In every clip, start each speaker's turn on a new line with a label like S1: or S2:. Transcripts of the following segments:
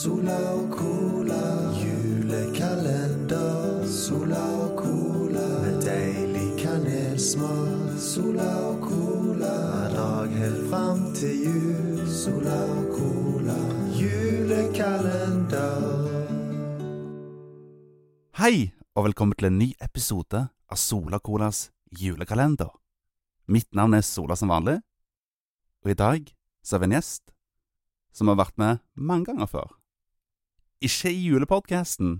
S1: Sola og cola, julekalender. Sola og cola, med deilig kanelsmak. Sola og cola, hver dag helt fram til jul. Sola og cola, julekalender.
S2: Hei, og velkommen til en ny episode av Sola Colas julekalender. Mitt navn er Sola som vanlig, og i dag så har vi en gjest som har vært med mange ganger før. Ikke i julepodkasten,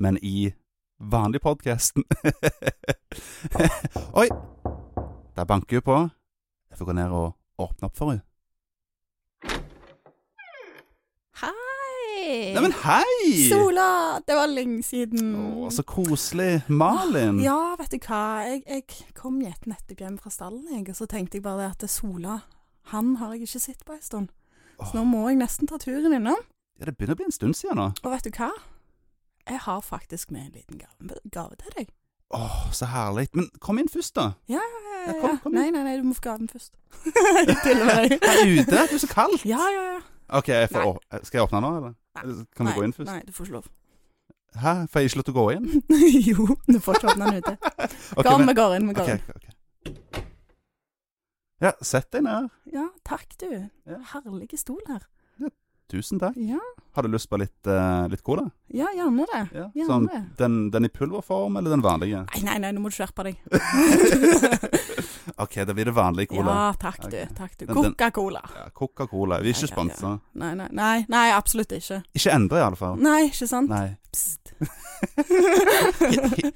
S2: men i vanlig podkasten. Oi! Der banker hun på. Jeg får gå ned og åpne opp for henne.
S3: Hei!
S2: Neimen, hei!
S3: Sola! Det var lenge siden.
S2: Å, så koselig. Malin.
S3: Ja, vet du hva. Jeg, jeg kom gjeten nettopp hjem fra stallen, jeg, og så tenkte jeg bare det at det er Sola, han har jeg ikke sett på en stund. Så nå må jeg nesten ta turen innom.
S2: Ja, det begynner å bli en stund siden nå.
S3: Og vet du hva? Jeg har faktisk med en liten gave, gave til deg.
S2: Åh, så herlig. Men kom inn først, da.
S3: Ja,
S2: Ja, kom, kom
S3: Nei, nei, nei, du må få gaven først. jeg tuller med
S2: Her
S3: deg.
S2: ute, det er så kaldt.
S3: Ja, ja, ja.
S2: Ok, jeg får,
S3: Nei.
S2: å, eh, Skal jeg åpne nå, eller? Eller Kan du
S3: Nei,
S2: gå inn først?
S3: Nei, du får ikke lov.
S2: Hæ, får jeg ikke lov til å gå inn?
S3: jo, du får ikke åpne den ute.
S2: Ok,
S3: Kom,
S2: men-
S3: vi går inn, vi
S2: ok,
S3: går inn.
S2: ok, ok. Ja, sett deg ned.
S3: Ja, takk du.
S2: Ja.
S3: Herlige stol her.
S2: Tusen takk.
S3: Ja.
S2: Har du lyst på litt, eh, litt cola?
S3: Ja, gjerne det.
S2: Ja.
S3: Gjerne
S2: Sånn,
S3: det.
S2: den, den i pulverform, eller den vanlige?
S3: Nei, nei, nei, nå må du skjerpe deg.
S2: ok, da blir det vanlig cola.
S3: Ja, takk du.
S2: Ok.
S3: takk du.
S2: Men den-
S3: Coca-Cola.
S2: Ja, Coca-Cola. Vi er ikke
S3: Ja, ja, ja.
S2: sponsa.
S3: Nei, nei, nei, nei, absolutt ikke.
S2: Ikke enda, i alle fall.
S3: Nei, ikke sant?
S2: Nei.
S3: Psst.
S2: Hi- hi-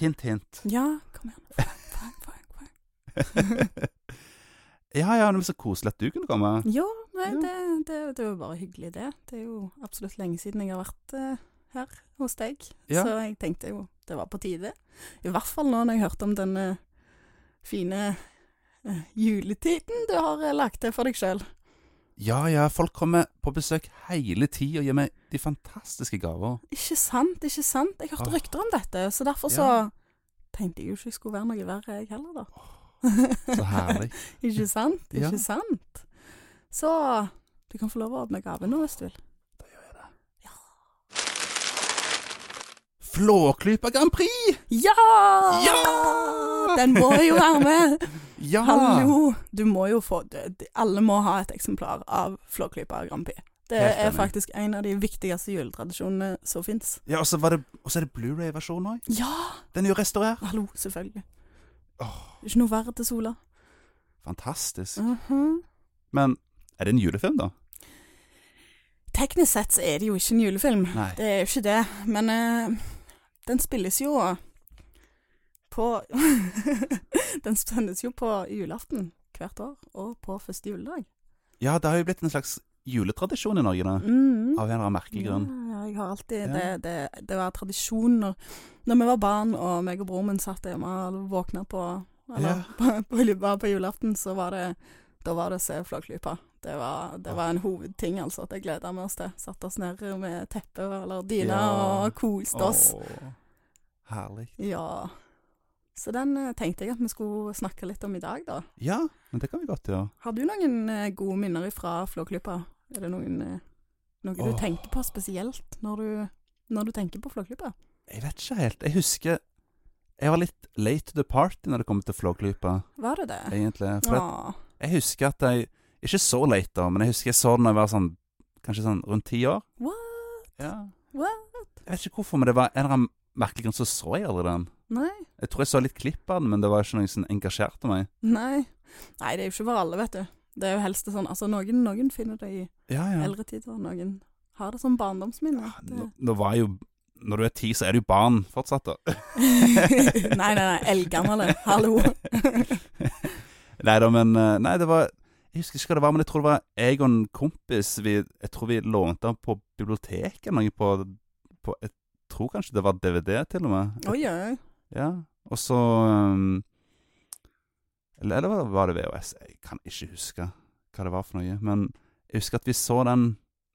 S2: Hint, hint.
S3: Ja, kom igjen. Fang, fang, fang.
S2: ja, ja, det var så koselig at du kunne komme.
S3: Jo, nei,
S2: Ja.
S3: det, det, det er jo bare hyggelig det. Det er jo absolutt lenge siden jeg har vært eh, her hos deg.
S2: Ja.
S3: Så jeg tenkte jo det var på tide. I hvert fall nå når jeg hørte om denne fine eh, juletiden du har eh, lagt til for deg sjøl.
S2: Ja, ja, folk kommer på besøk hele tida og gir meg de fantastiske gaver.
S3: Ikke sant, ikke sant. Jeg hørte
S2: Åh.
S3: rykter om dette, så derfor så
S2: Ja.
S3: tenkte jeg jo ikke jeg skulle være noe verre, jeg heller, da.
S2: Så herlig.
S3: ikke sant,
S2: Ja.
S3: ikke sant. Så du kan få lov å åpne gaven nå hvis du vil.
S2: Da gjør jeg det. Flåklypa Grand Prix!
S3: Ja!
S2: Ja!
S3: Den må jo være med!
S2: Ja! Ah.
S3: Hallo! Du må jo få det. De- Alle må ha et eksemplar av Flåklypa Grand Prix. Det
S2: Helt
S3: er
S2: enig.
S3: faktisk en av de viktigste juletradisjonene som fins.
S2: Ja, og så var det- og så er det Blu-ray-versjonen òg.
S3: Ja!
S2: Den er jo restaurert.
S3: Hallo, selvfølgelig.
S2: Åh,
S3: Ikke noe verre til Sola.
S2: fantastisk.
S3: Mhm.
S2: Men er det en julefilm, da?
S3: Teknisk sett så er det jo ikke en julefilm.
S2: Nei.
S3: Det er jo ikke det. Men eh, den spilles jo på Den sendes jo på julaften hvert år, og på første juledag.
S2: Ja, det har jo blitt en slags juletradisjon i Norge, da.
S3: Mm.
S2: Av en eller annen merkelig
S3: Ja,
S2: grunn.
S3: ja, jeg har alltid
S2: Ja.
S3: det, det, det var tradisjon når, når vi var barn og meg og broren min satt hjemme og våkna på Eller
S2: Ja.
S3: på, på, var på julaften, så var det Da var det å se Flåklypa. Det var, det var en hovedting, altså. Det gleda vi oss til. Satte oss ned med teppe eller dyne
S2: Ja.
S3: og koste oss.
S2: Åh, herlig.
S3: Ja. Så den eh, tenkte jeg at vi skulle snakke litt om i dag, da.
S2: Ja, men det kan vi godt gjøre.
S3: Har du noen eh, gode minner fra Flåklypa? Er det noen, eh, noe
S2: Åh.
S3: du tenker på spesielt når du, når du tenker på Flåklypa?
S2: Jeg vet ikke helt. Jeg husker Jeg var litt late to the party når det kom til Flåklypa,
S3: Var det det?
S2: egentlig. For at
S3: Ja.
S2: Jeg husker at jeg Ikke så late, da, men jeg husker jeg så den da jeg var sånn Kanskje sånn rundt ti år.
S3: What?
S2: Ja.
S3: What?
S2: Jeg vet ikke hvorfor, men det var en eller annen merkelig grunn så så jeg aldri den.
S3: Nei.
S2: Jeg tror jeg så litt klipp av den, men det var ikke noe som engasjerte meg.
S3: Nei. Nei, det er jo ikke for alle, vet du. Det er jo helst det sånn Altså, noen, noen finner det i
S2: Ja, ja. Ah,
S3: eldre tid, og noen har det som barndomsminne.
S2: Nå,
S3: Det-
S2: nå var jeg jo Når du er ti, så er du jo barn fortsatt, da.
S3: nei, nei, nei. Eldgamle. Hallo.
S2: Nei da, men eh, Nei, det var Jeg husker ikke hva det var, men jeg tror det var jeg og en kompis vi, Jeg tror vi lånte den på biblioteket eller noe på, på Jeg tror kanskje det var DVD, til og med.
S3: Oi, oi.
S2: Ja, og så um, Eller, eller var det- var det VHS? Jeg kan ikke huske hva det var for noe. Men jeg husker at vi så den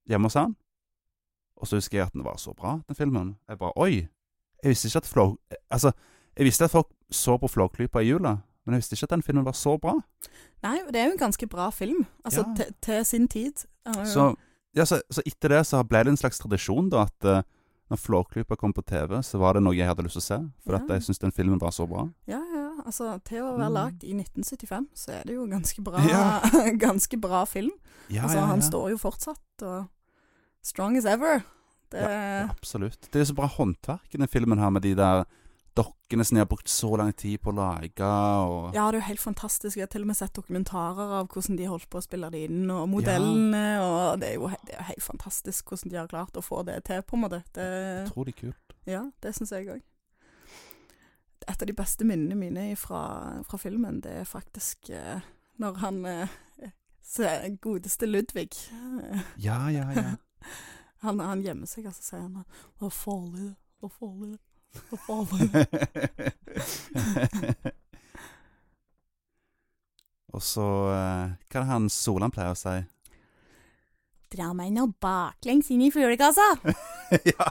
S2: hjemme hos han. Og så husker jeg at den var så bra, den filmen. Jeg bare Oi! Jeg visste ikke at Flå... Altså, jeg visste at folk så på Flåklypa i jula, men jeg visste ikke at den filmen var så bra.
S3: Nei, det er jo en ganske bra film. Altså,
S2: Ja.
S3: te- til sin tid. Han er jo-
S2: Så ja, så, så etter det så ble det en slags tradisjon, da, at eh, når Flåklypa kom på TV, så var det noe jeg hadde lyst til å se. For at
S3: Ja.
S2: jeg syntes den filmen var så bra.
S3: Ja, ja. Altså, til å være
S2: Mm.
S3: lagd i 1975, så er det jo ganske bra,
S2: Ja.
S3: ganske bra film.
S2: Ja,
S3: altså, han står jo fortsatt og Strong as ever. Det,
S2: Ja, Absolutt. Det er så bra håndverk i den filmen her, med de der dokkene som de har brukt så lang tid på å lage, og
S3: Ja, det er jo helt fantastisk. Jeg har til og med sett dokumentarer av hvordan de holdt på å spille det inn, og modellene, og det er jo he det er jo helt fantastisk hvordan de har klart å få det til, på en måte. Det,
S2: Utrolig kult.
S3: ja, det syns jeg òg. Et av de beste minnene mine fra, fra filmen, det er faktisk eh, når han eh, ser godeste Ludvig eh,
S2: Ja, ja, ja.
S3: han, han gjemmer seg, og så sier han 'Hva farlig, hva farlig, hva farlig'.
S2: og så eh, Hva er det han Solan pleier å si?
S3: Dra meg nå baklengs inn i fuglekassa!
S2: ja.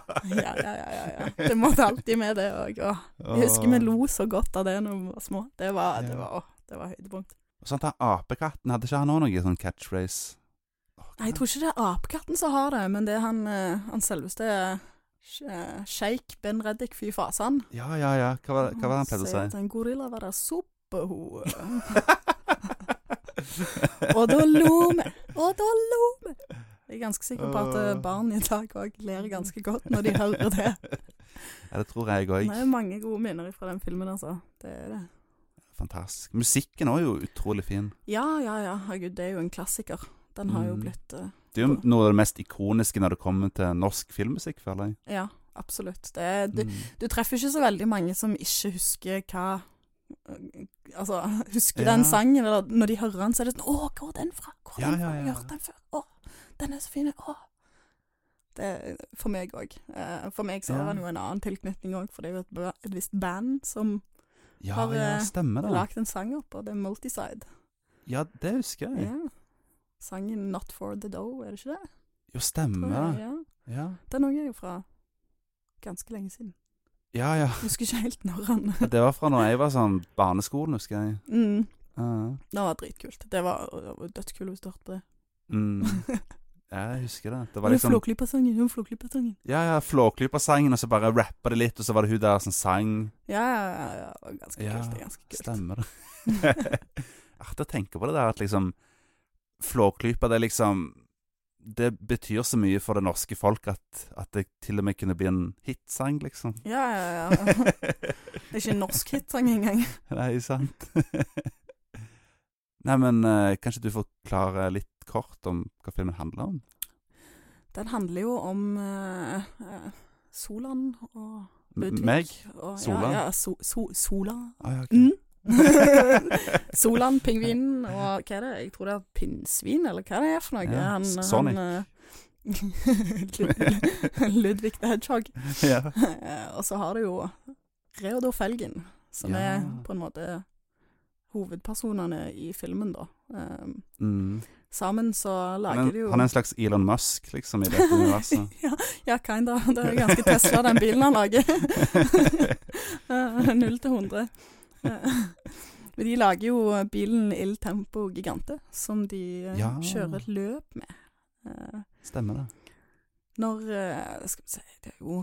S3: Ja, ja, ja, ja, ja. Det måtte alltid med, det òg. Og Jeg husker vi lo så godt av det når vi var små. Det var, det
S2: Ja.
S3: var, åh, det var høydepunkt.
S2: Og sånn at han Apekatten, hadde ikke han òg noe sånn catchphrase? Å,
S3: Nei, jeg tror ikke det er apekatten som har det, men det er han, eh, han selveste eh, sjeik Ben Reddik, fy fasan.
S2: Ja, ja, ja. Hva var, hva var det han pleide å
S3: sier
S2: si?
S3: at En gorilla var der sopeho. og da lo vi, og da lo vi. Jeg er ganske sikker på at eh, barn i dag òg ler ganske godt når de hører det.
S2: Ja, det tror jeg òg.
S3: Det er mange gode minner fra den filmen, altså. Det er det.
S2: Fantastisk. Musikken òg er jo utrolig fin.
S3: Ja, ja, ja. Herregud, det er jo en klassiker. Den har jo
S2: Mm.
S3: blitt eh,
S2: Det er jo noe av det mest ikoniske når det kommer til norsk filmmusikk, føler jeg.
S3: Ja, absolutt. Det, er- du,
S2: Mm.
S3: du treffer ikke så veldig mange som ikke husker hva Altså, husker
S2: Ja.
S3: den sangen, eller når de hører den, så er det sånn Å, hvor er den fra? Hvor er
S2: Ja,
S3: den fra?
S2: ja, ja,
S3: Jeg
S2: ja.
S3: har hørt den før. Å, den er så fin. Å. Det er for meg òg. Eh, For meg så
S2: Ja.
S3: har han jo en annen tilknytning òg, for det er jo et, ba- et visst band som
S2: Ja,
S3: Har,
S2: ja,
S3: eh,
S2: stemmer
S3: har
S2: det.
S3: lagd en sang opp, og det er Multiside.
S2: Ja, det husker jeg.
S3: Ja. Sangen Not For The Dough, er det ikke det?
S2: Jo,
S3: Tror
S2: stemmer
S3: jeg,
S2: det.
S3: ja.
S2: Ja,
S3: Den òg er jo fra ganske lenge siden.
S2: ja. ja.
S3: Husker ikke helt når han
S2: Det var fra når jeg var sånn barneskolen, husker jeg.
S3: mm.
S2: Ja.
S3: Det var dritkult. Det var, det var dødskult hvis du hørte på det.
S2: Mm. Ja, jeg husker det. Det
S3: Var
S2: var liksom
S3: Flåklypa-sangen, jo, Flåklypa-sangen.
S2: Ja, ja, Flåklypa-sangen, og så bare rappa det litt, og så var det hun der som sang.
S3: Ja, ja, ja, ja. Det var ganske
S2: Ja,
S3: kult. Det er ganske kult.
S2: Stemmer det. Artig å tenke på det der at liksom Flåklypa, det er liksom Det betyr så mye for det norske folk at, at det til og med kunne bli en hitsang, liksom.
S3: Ja, ja, ja. Det er ikke en norsk hitsang engang.
S2: Nei, sant. Nei, men eh, kanskje du forklarer litt kort om hva filmen handler om?
S3: Den handler jo om eh, eh, Solan og
S2: M
S3: Ludvig.
S2: meg?
S3: Og,
S2: Solan?
S3: Ja, ja, so, so, Sola.
S2: Å, ja, ok.
S3: Mm. Solan, pingvinen og hva er det? Jeg tror det er pinnsvin, eller hva det er for noe?
S2: Ja,
S3: Han,
S2: Sonic.
S3: han, eh, Ludvig the Hedgehog.
S2: ja.
S3: Eh, og så har du jo Reodor Felgen, som
S2: Ja.
S3: er på en måte hovedpersonene i filmen, da. Um,
S2: Mm.
S3: sammen så lager
S2: Men,
S3: de jo
S2: han er en slags Elon Musk, liksom, i dette universet.
S3: ja, ja, kinda. Det er ganske Tesla, den bilen han lager. Eh, Null til 100. Eh, Men de lager jo bilen Il Tempo Gigante, som de eh,
S2: Ja.
S3: kjører et løp med. Eh,
S2: Stemmer det.
S3: Når eh, Skal vi si, det er jo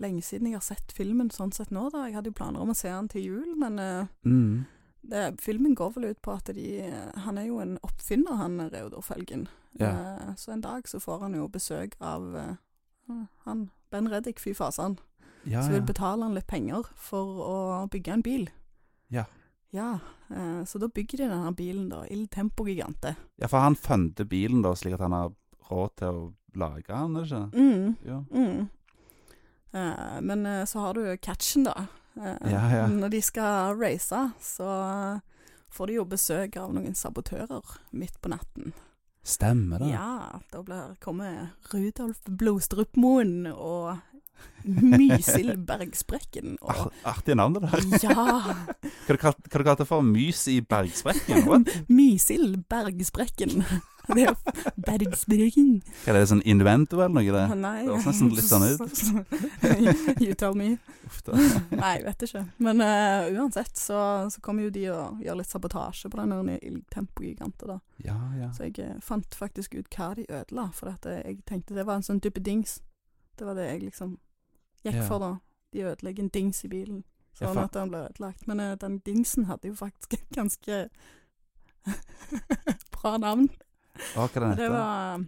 S3: lenge siden jeg har sett filmen sånn sett nå, da. Jeg hadde jo planer om å se den til jul, men eh,
S2: Mm.
S3: det, filmen går vel ut på at de eh, Han er jo en oppfinner, han Reodor Felgen.
S2: Ja.
S3: Eh, så en dag så får han jo besøk av eh, han Ben Reddik, fy fasan,
S2: Ja,
S3: som vil
S2: ja.
S3: betale han litt penger for å bygge en bil.
S2: Ja.
S3: Ja, eh, så da bygger de denne bilen, da. Il Tempo Gigante.
S2: ja, for han funder bilen, da, slik at han har råd til å lage han, er det ikke?
S3: Mm.
S2: Ja.
S3: Mm. Eh, men eh, så har du catchen, da. Eh,
S2: Ja, ja.
S3: Når de skal race, så får de jo besøk av noen sabotører midt på natten.
S2: Stemmer det.
S3: Ja, da blir, kommer Rudolf Blodstrupmoen og Mysild Bergsprekken. Og,
S2: Ar- Artig navn, det der.
S3: ja!
S2: Hva du kalt- hva du kalte det for? Mys i bergsprekken? What?
S3: Mysild Bergsprekken. Det er Bergsprekken.
S2: Hva er det, sånn invento eller noe? Det?
S3: Nei.
S2: høres nesten litt sånn
S3: ut. you tell me.
S2: Uff, da.
S3: Nei, jeg vet ikke. Men eh, uansett så, så kommer jo de og gjør litt sabotasje på den der ildtempogiganten, da.
S2: Ja, ja.
S3: Så jeg eh, fant faktisk ut hva de ødela, for at eh, jeg tenkte det var en sånn type dings. Det var det jeg liksom gikk
S2: Ja.
S3: for, da. De ødelegger en dings i bilen,
S2: Ja,
S3: sånn
S2: fa-
S3: at den ble ødelagt. Men eh, den dingsen hadde jo faktisk et ganske bra navn.
S2: Å, hva den
S3: Det
S2: heter
S3: var eh,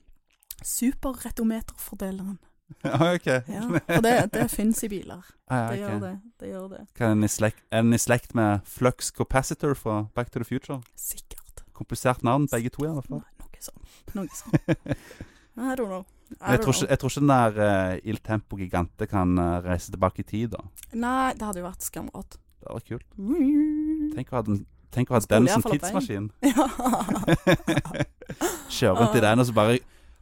S3: superretometerfordeleren.
S2: Ja, ok.
S3: Ja, for det, det fins i biler.
S2: Ah,
S3: Det
S2: ja,
S3: gjør
S2: ok.
S3: det. Det gjør det.
S2: Hva er den i slekt, er den i slekt med Flux Capacitor fra Back to the Future?
S3: Sikkert.
S2: Komplisert navn, begge to i hvert fall.
S3: Nei, noe sånt. Noe sånt. I don't know. I
S2: Men jeg
S3: don't
S2: tror, ikke,
S3: know.
S2: jeg tror ikke den der eh, Il Tempo Gigante kan eh, reise tilbake i tid, da.
S3: Nei, det hadde jo vært skamrått.
S2: Det hadde vært kult.
S3: Ja.
S2: Tenk å ha den, tenk å ha
S3: Spole
S2: den
S3: i
S2: som
S3: hvert fall opp
S2: tidsmaskin. Kjøre rundt i den, og så bare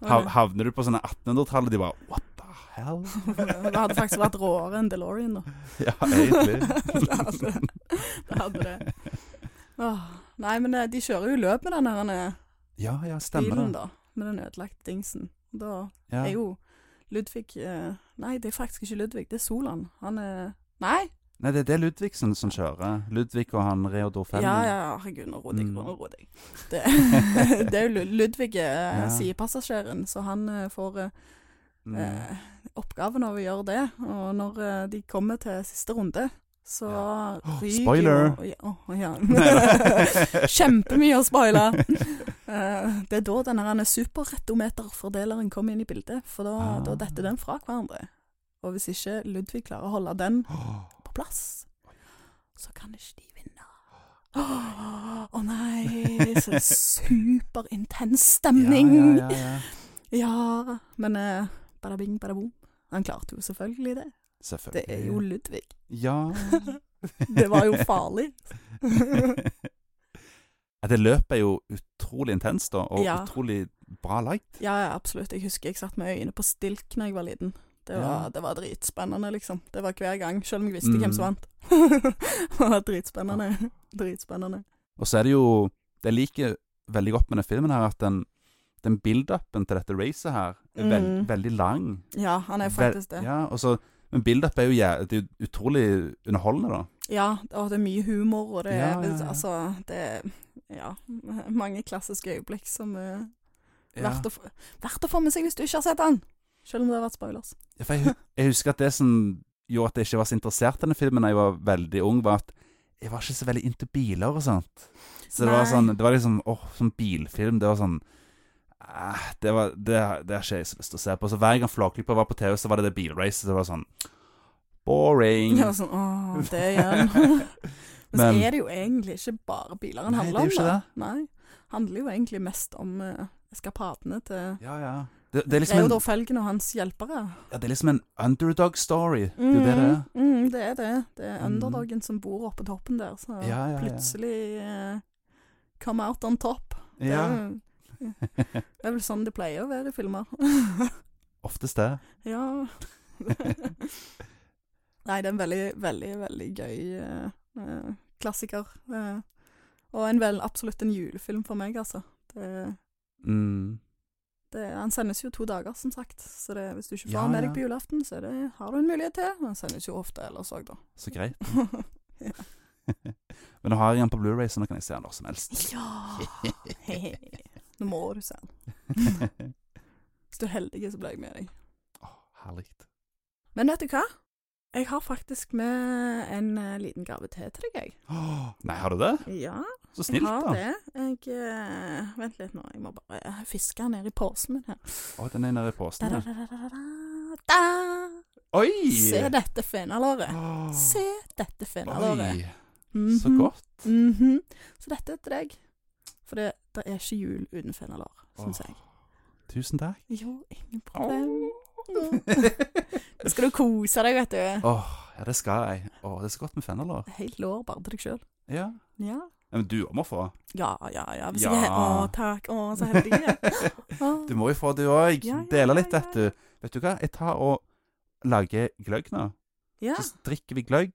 S2: hav, havner du på sånne 1800-tallet, de bare What the hell?
S3: Det hadde faktisk vært råere enn DeLorean, da.
S2: Ja, egentlig.
S3: det hadde det. Hadde det. Åh, nei, men eh, de kjører jo løp med den her eh,
S2: Ja, ja, stemmer
S3: bilen,
S2: det.
S3: da. Med den ødelagte dingsen. Da
S2: Ja.
S3: er jo Ludvig eh, Nei, det er faktisk ikke Ludvig, det er Solan. Han er Nei!
S2: Nei, det er det Ludvigsen som kjører. Ludvig og han Reodor
S3: Ja,
S2: Fellen.
S3: ja, ja, herregud, nå ro deg,
S2: Mm.
S3: nå ro deg. Det, det er jo Lu- Ludvig, eh,
S2: Ja.
S3: sidepassasjeren, så han eh, får eh,
S2: Mm.
S3: eh, oppgaven av å gjøre det. Og når eh, de kommer til siste runde, så
S2: Ja. Åh,
S3: ryker
S2: spoiler!
S3: jo- Ja, åh, ja.
S2: Neida.
S3: Kjempemye å spoile! Eh, det er da denne her superrettometerfordeleren kommer inn i bildet, for da,
S2: Ah.
S3: da detter den fra hverandre. Og hvis ikke Ludvig klarer å holde den på plass, så kan ikke de vinne. Å nei, så superintens stemning!
S2: Ja, ja, ja, ja.
S3: Ja, men eh, bada bing, bada boom. Han klarte jo selvfølgelig det. Det
S2: Selvfølgelig.
S3: er jo Ludvig.
S2: Ja.
S3: Det var jo farlig.
S2: Ja, det løpet er jo utrolig intenst, da, og
S3: Ja.
S2: utrolig bra lagd.
S3: Ja, ja, absolutt. Jeg husker jeg satt med øynene på stilk da jeg var liten. Det var,
S2: Ja.
S3: det var dritspennende, liksom. Det var hver gang, selv om jeg visste
S2: Mm.
S3: hvem som vant. det var dritspennende. Dritspennende.
S2: Og så er det jo Det jeg liker veldig godt med denne filmen, her at den, den build-upen til dette racet her er vel,
S3: Mm.
S2: veldig lang.
S3: Ja, han er faktisk
S2: Vel-
S3: det.
S2: Ja, og så, men build-up er jo jæ- det er jo utrolig underholdende, da.
S3: Ja, og det er mye humor, og det er
S2: Ja, ja, ja.
S3: Altså, det er Ja, mange klassiske øyeblikk som er verdt, å, få- verdt å få med seg hvis du ikke har sett den! Selv om det har vært spoilers.
S2: Ja, for jeg, hu- jeg husker at det som gjorde at jeg ikke var så interessert i denne filmen da jeg var veldig ung, var at jeg var ikke så veldig into biler og sånt. Så det var,
S3: Nei.
S2: sånn, det var liksom åh, sånn bilfilm. Det var sånn eh, det, var, det, det har ikke jeg så lyst til å se på. Så hver gang Flåklypa var på TV, så var det det bilracet. Det var sånn boring.
S3: Ja, sånn, åh, det igjen. Men, så
S2: Men-
S3: er det jo egentlig ikke bare biler han
S2: Nei, det er
S3: handler om.
S2: jo ikke
S3: da. Nei, handler jo egentlig mest om uh, eskapadene til
S2: ja, ja. Det, det, er liksom en,
S3: Reodor Felgen og hans hjelpere.
S2: ja, det er liksom en underdog story. Det er jo det det er.
S3: Mm, mm, det er det. Det er
S2: Mm.
S3: underdogen som bor oppe på toppen der, så
S2: Ja, ja, ja.
S3: plutselig eh, come out on top. Det
S2: Ja,
S3: er, jo- det er vel sånn det pleier å være i filmer.
S2: oftest det.
S3: Ja. Nei, det er en veldig, veldig, veldig gøy eh, eh, klassiker. eh, og en vel absolutt en julefilm for meg, altså. Det,
S2: Mm.
S3: det, han sendes jo to dager, som sagt. Så det, hvis du ikke får
S2: Ja,
S3: han med
S2: ja.
S3: deg på julaften, så er det, har du en mulighet til. Han sendes jo ofte ellers òg, da.
S2: Så greit. Men nå har jeg den på Blu-ray, så nå kan jeg se den når som helst.
S3: ja! Nå må du se den. Hvis du er heldig, så blir jeg med deg.
S2: Åh, herlig.
S3: Men vet du hva? Jeg har faktisk med en eh, liten gave til til deg,
S2: Åh, nei, har du det?
S3: jeg. Ja.
S2: Så snilt,
S3: jeg har
S2: da.
S3: det. Jeg, eh, vent litt nå, jeg må bare eh, fiske ned i posen min her.
S2: Å, den er nede i
S3: Da,
S2: posen.
S3: da,
S2: ja.
S3: da, da, da, da, da.
S2: Oi!
S3: Se dette fenalåret.
S2: Åh,
S3: Se dette fenalåret.
S2: Ah. Oi, så
S3: Mhm.
S2: godt.
S3: Mhm. Så dette er til deg. For det, det er ikke jul uten fenalår, syns
S2: Åh.
S3: jeg.
S2: Tusen takk.
S3: Jo, ingen problem.
S2: Åh,
S3: Nå skal du kose deg, vet du.
S2: ja, det skal jeg. Åh, det er så godt med fennelår.
S3: Helt lår bare til deg sjøl.
S2: Ja.
S3: Ja.
S2: Ja, Men du må få.
S3: ja, ja, ja. Hvis
S2: Ja.
S3: jeg er Å, takk. Å, så heldig jeg er. Å.
S2: Du må jo få, du òg.
S3: Ja, ja,
S2: Dele litt,
S3: ja,
S2: vet du. Vet du hva, jeg tar og lager gløgg nå.
S3: Ja.
S2: Så drikker vi gløgg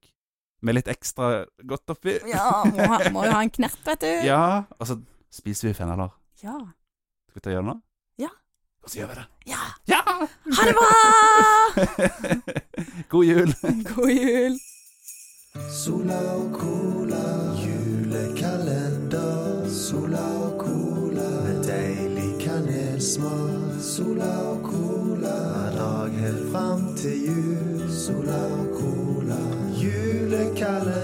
S2: med litt ekstra godt oppi.
S3: ja må, ha, må jo ha en knert, vet du.
S2: Ja, og så spiser vi fennaler.
S3: Ja.
S2: Skal vi ta og gjøre det nå?
S3: Ja.
S2: Og så gjør vi det.
S3: ja.
S2: Ja!
S3: Ha det bra!
S2: God jul!
S3: God jul.
S1: Sola og cola, julekalender. Sola og cola, med deilig kanelsmak. Sola og cola, hver dag helt fram til jul. Sola og cola, julekalender.